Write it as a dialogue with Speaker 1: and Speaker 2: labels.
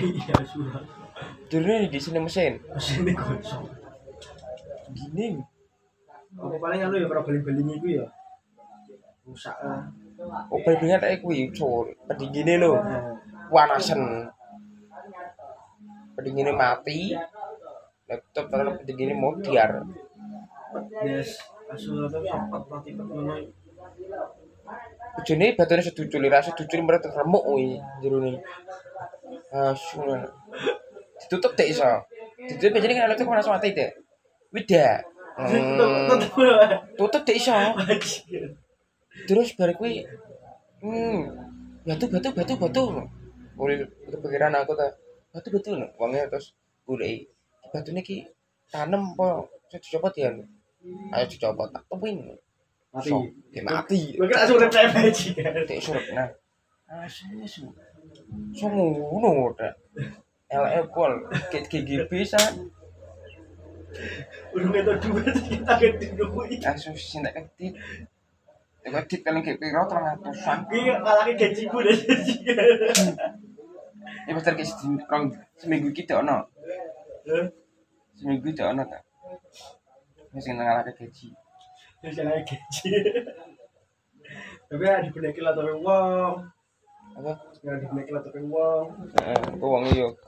Speaker 1: iya sudah
Speaker 2: turunnya di sini mesin
Speaker 1: mesinnya gosong
Speaker 2: gini
Speaker 1: Apa paling anu ya kalau beling-beling itu ya rusak eh. lah
Speaker 2: oh berbeda kayak kuwi cor pendinginnya lo
Speaker 1: Nah,
Speaker 2: wanasen pendinginnya mati laptop terus pendinginnya modiar
Speaker 1: yes asal apa cepat mati pertama
Speaker 2: ujungnya batunya setuju lira setuju mereka remuk kuwi jerone asyur ditutup deh iso ditutup biasanya kan laptop panas mati deh wida hmm, tutup deh iso terus balik kuwi hmm batu batu batu batu mulai kepikiran aku ta batu batu no uangnya terus boleh batu ini ki tanam po saya coba dia ayo coba tak temuin
Speaker 1: mati
Speaker 2: So, ya mati
Speaker 1: gue kira sudah play aja
Speaker 2: tek surat nah aslinya su so ngono ta LE pol kit gigi bisa
Speaker 1: udah metode dua terus kita akan dirugi
Speaker 2: asu sinta ketit Tengok tit paling kayak piro terang atusan.
Speaker 1: gue malah ke gaji gue dan gaji
Speaker 2: Ini pasti kayak sedin- rong- seminggu kita ono. seminggu itu ono ta wis sing ngalah gaji
Speaker 1: terus yang lagi gaji tapi ada dibelikin lah tapi uang
Speaker 2: apa Eh,
Speaker 1: ada dibelikin lah tapi uang
Speaker 2: heeh wong yo